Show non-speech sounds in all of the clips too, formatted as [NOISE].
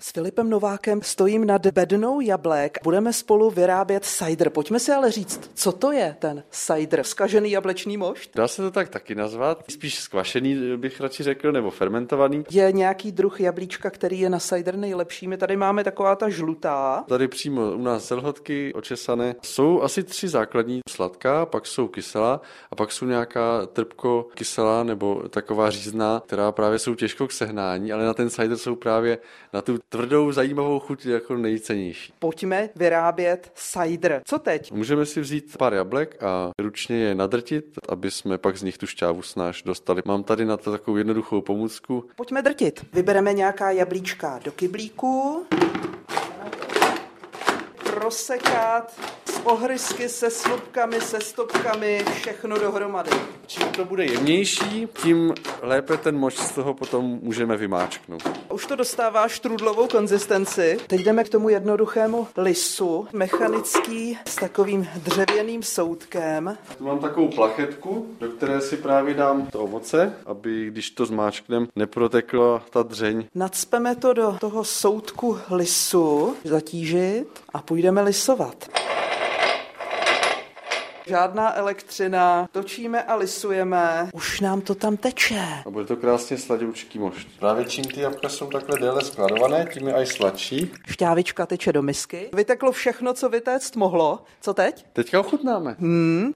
S Filipem Novákem stojím nad bednou jablek. Budeme spolu vyrábět cider. Pojďme si ale říct, co to je ten cider? Skažený jablečný mošt? Dá se to tak taky nazvat. Spíš skvašený bych radši řekl, nebo fermentovaný. Je nějaký druh jablíčka, který je na cider nejlepší? My tady máme taková ta žlutá. Tady přímo u nás selhotky očesané. Jsou asi tři základní sladká, pak jsou kyselá a pak jsou nějaká trpko kyselá nebo taková řízná, která právě jsou těžko k sehnání, ale na ten cider jsou právě na tu tvrdou, zajímavou chuť jako nejcennější. Pojďme vyrábět cider. Co teď? Můžeme si vzít pár jablek a ručně je nadrtit, aby jsme pak z nich tu šťávu snáš dostali. Mám tady na to takovou jednoduchou pomůcku. Pojďme drtit. Vybereme nějaká jablíčka do kyblíku. Prosekat s ohrysky, se slupkami, se stopkami, všechno dohromady. Čím to bude jemnější, tím lépe ten moč z toho potom můžeme vymáčknout. Už to dostává štrudlovou konzistenci. Teď jdeme k tomu jednoduchému lisu, mechanický, s takovým dřevěným soudkem. Tu mám takovou plachetku, do které si právě dám to ovoce, aby když to zmáčknem, neprotekla ta dřeň. Nacpeme to do toho soudku lisu, zatížit a půjdeme lisovat. Žádná elektřina, točíme a lisujeme. Už nám to tam teče. A bude to krásně sladoučký mošt. Právě čím ty jabka jsou takhle déle skladované, tím je aj sladší. Šťávička teče do misky. Vyteklo všechno, co vytéct mohlo. Co teď? Teďka ochutnáme. Mm.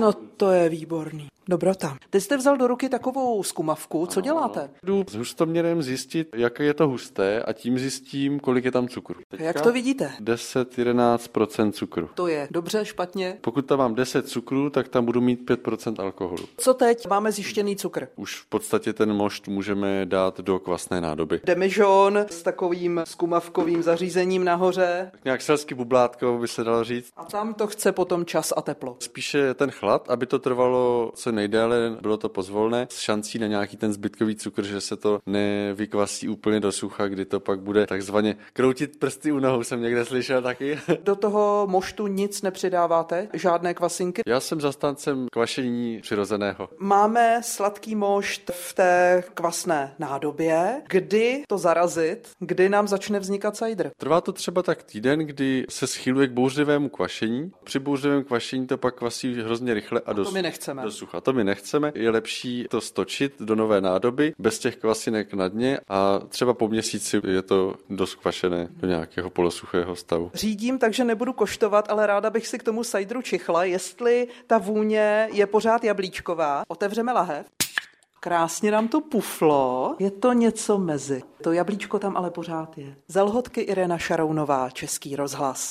No to je výborný. Dobrota. Teď jste vzal do ruky takovou zkumavku. Co děláte? Jdu s hustoměrem zjistit, jaké je to husté a tím zjistím, kolik je tam cukru. Teďka Jak to vidíte? 10-11% cukru. To je dobře, špatně. Pokud tam mám 10 cukru, tak tam budu mít 5% alkoholu. Co teď? Máme zjištěný cukr. Už v podstatě ten mošt můžeme dát do kvasné nádoby. Demižon s takovým skumavkovým zařízením nahoře. Tak nějak selsky bublátko by se dalo říct. A tam to chce potom čas a teplo. Spíše ten chlad, aby to trvalo co nejdéle, bylo to pozvolné, s šancí na nějaký ten zbytkový cukr, že se to nevykvasí úplně do sucha, kdy to pak bude takzvaně kroutit prsty u nohou, jsem někde slyšel taky. [LAUGHS] Do toho moštu nic nepřidáváte? Žádné kvasinky? Já jsem zastáncem kvašení přirozeného. Máme sladký mošt v té kvasné nádobě. Kdy to zarazit? Kdy nám začne vznikat cider? Trvá to třeba tak týden, kdy se schyluje k bouřlivému kvašení. Při bouřlivém kvašení to pak kvasí hrozně rychle a, To dost. my nechceme. Do sucha. To my nechceme. Je lepší to stočit do nové nádoby bez těch kvasinek na dně a třeba po měsíci je to dost kvašené do nějakého polosuchého stavu. Řídím, takže nebudu koštovat, ale ráda bych si k tomu sajdru čichla, jestli ta vůně je pořád jablíčková. Otevřeme lahev. Krásně nám to puflo. Je to něco mezi. To jablíčko tam ale pořád je. Zelhotky Irena Šarounová, Český rozhlas.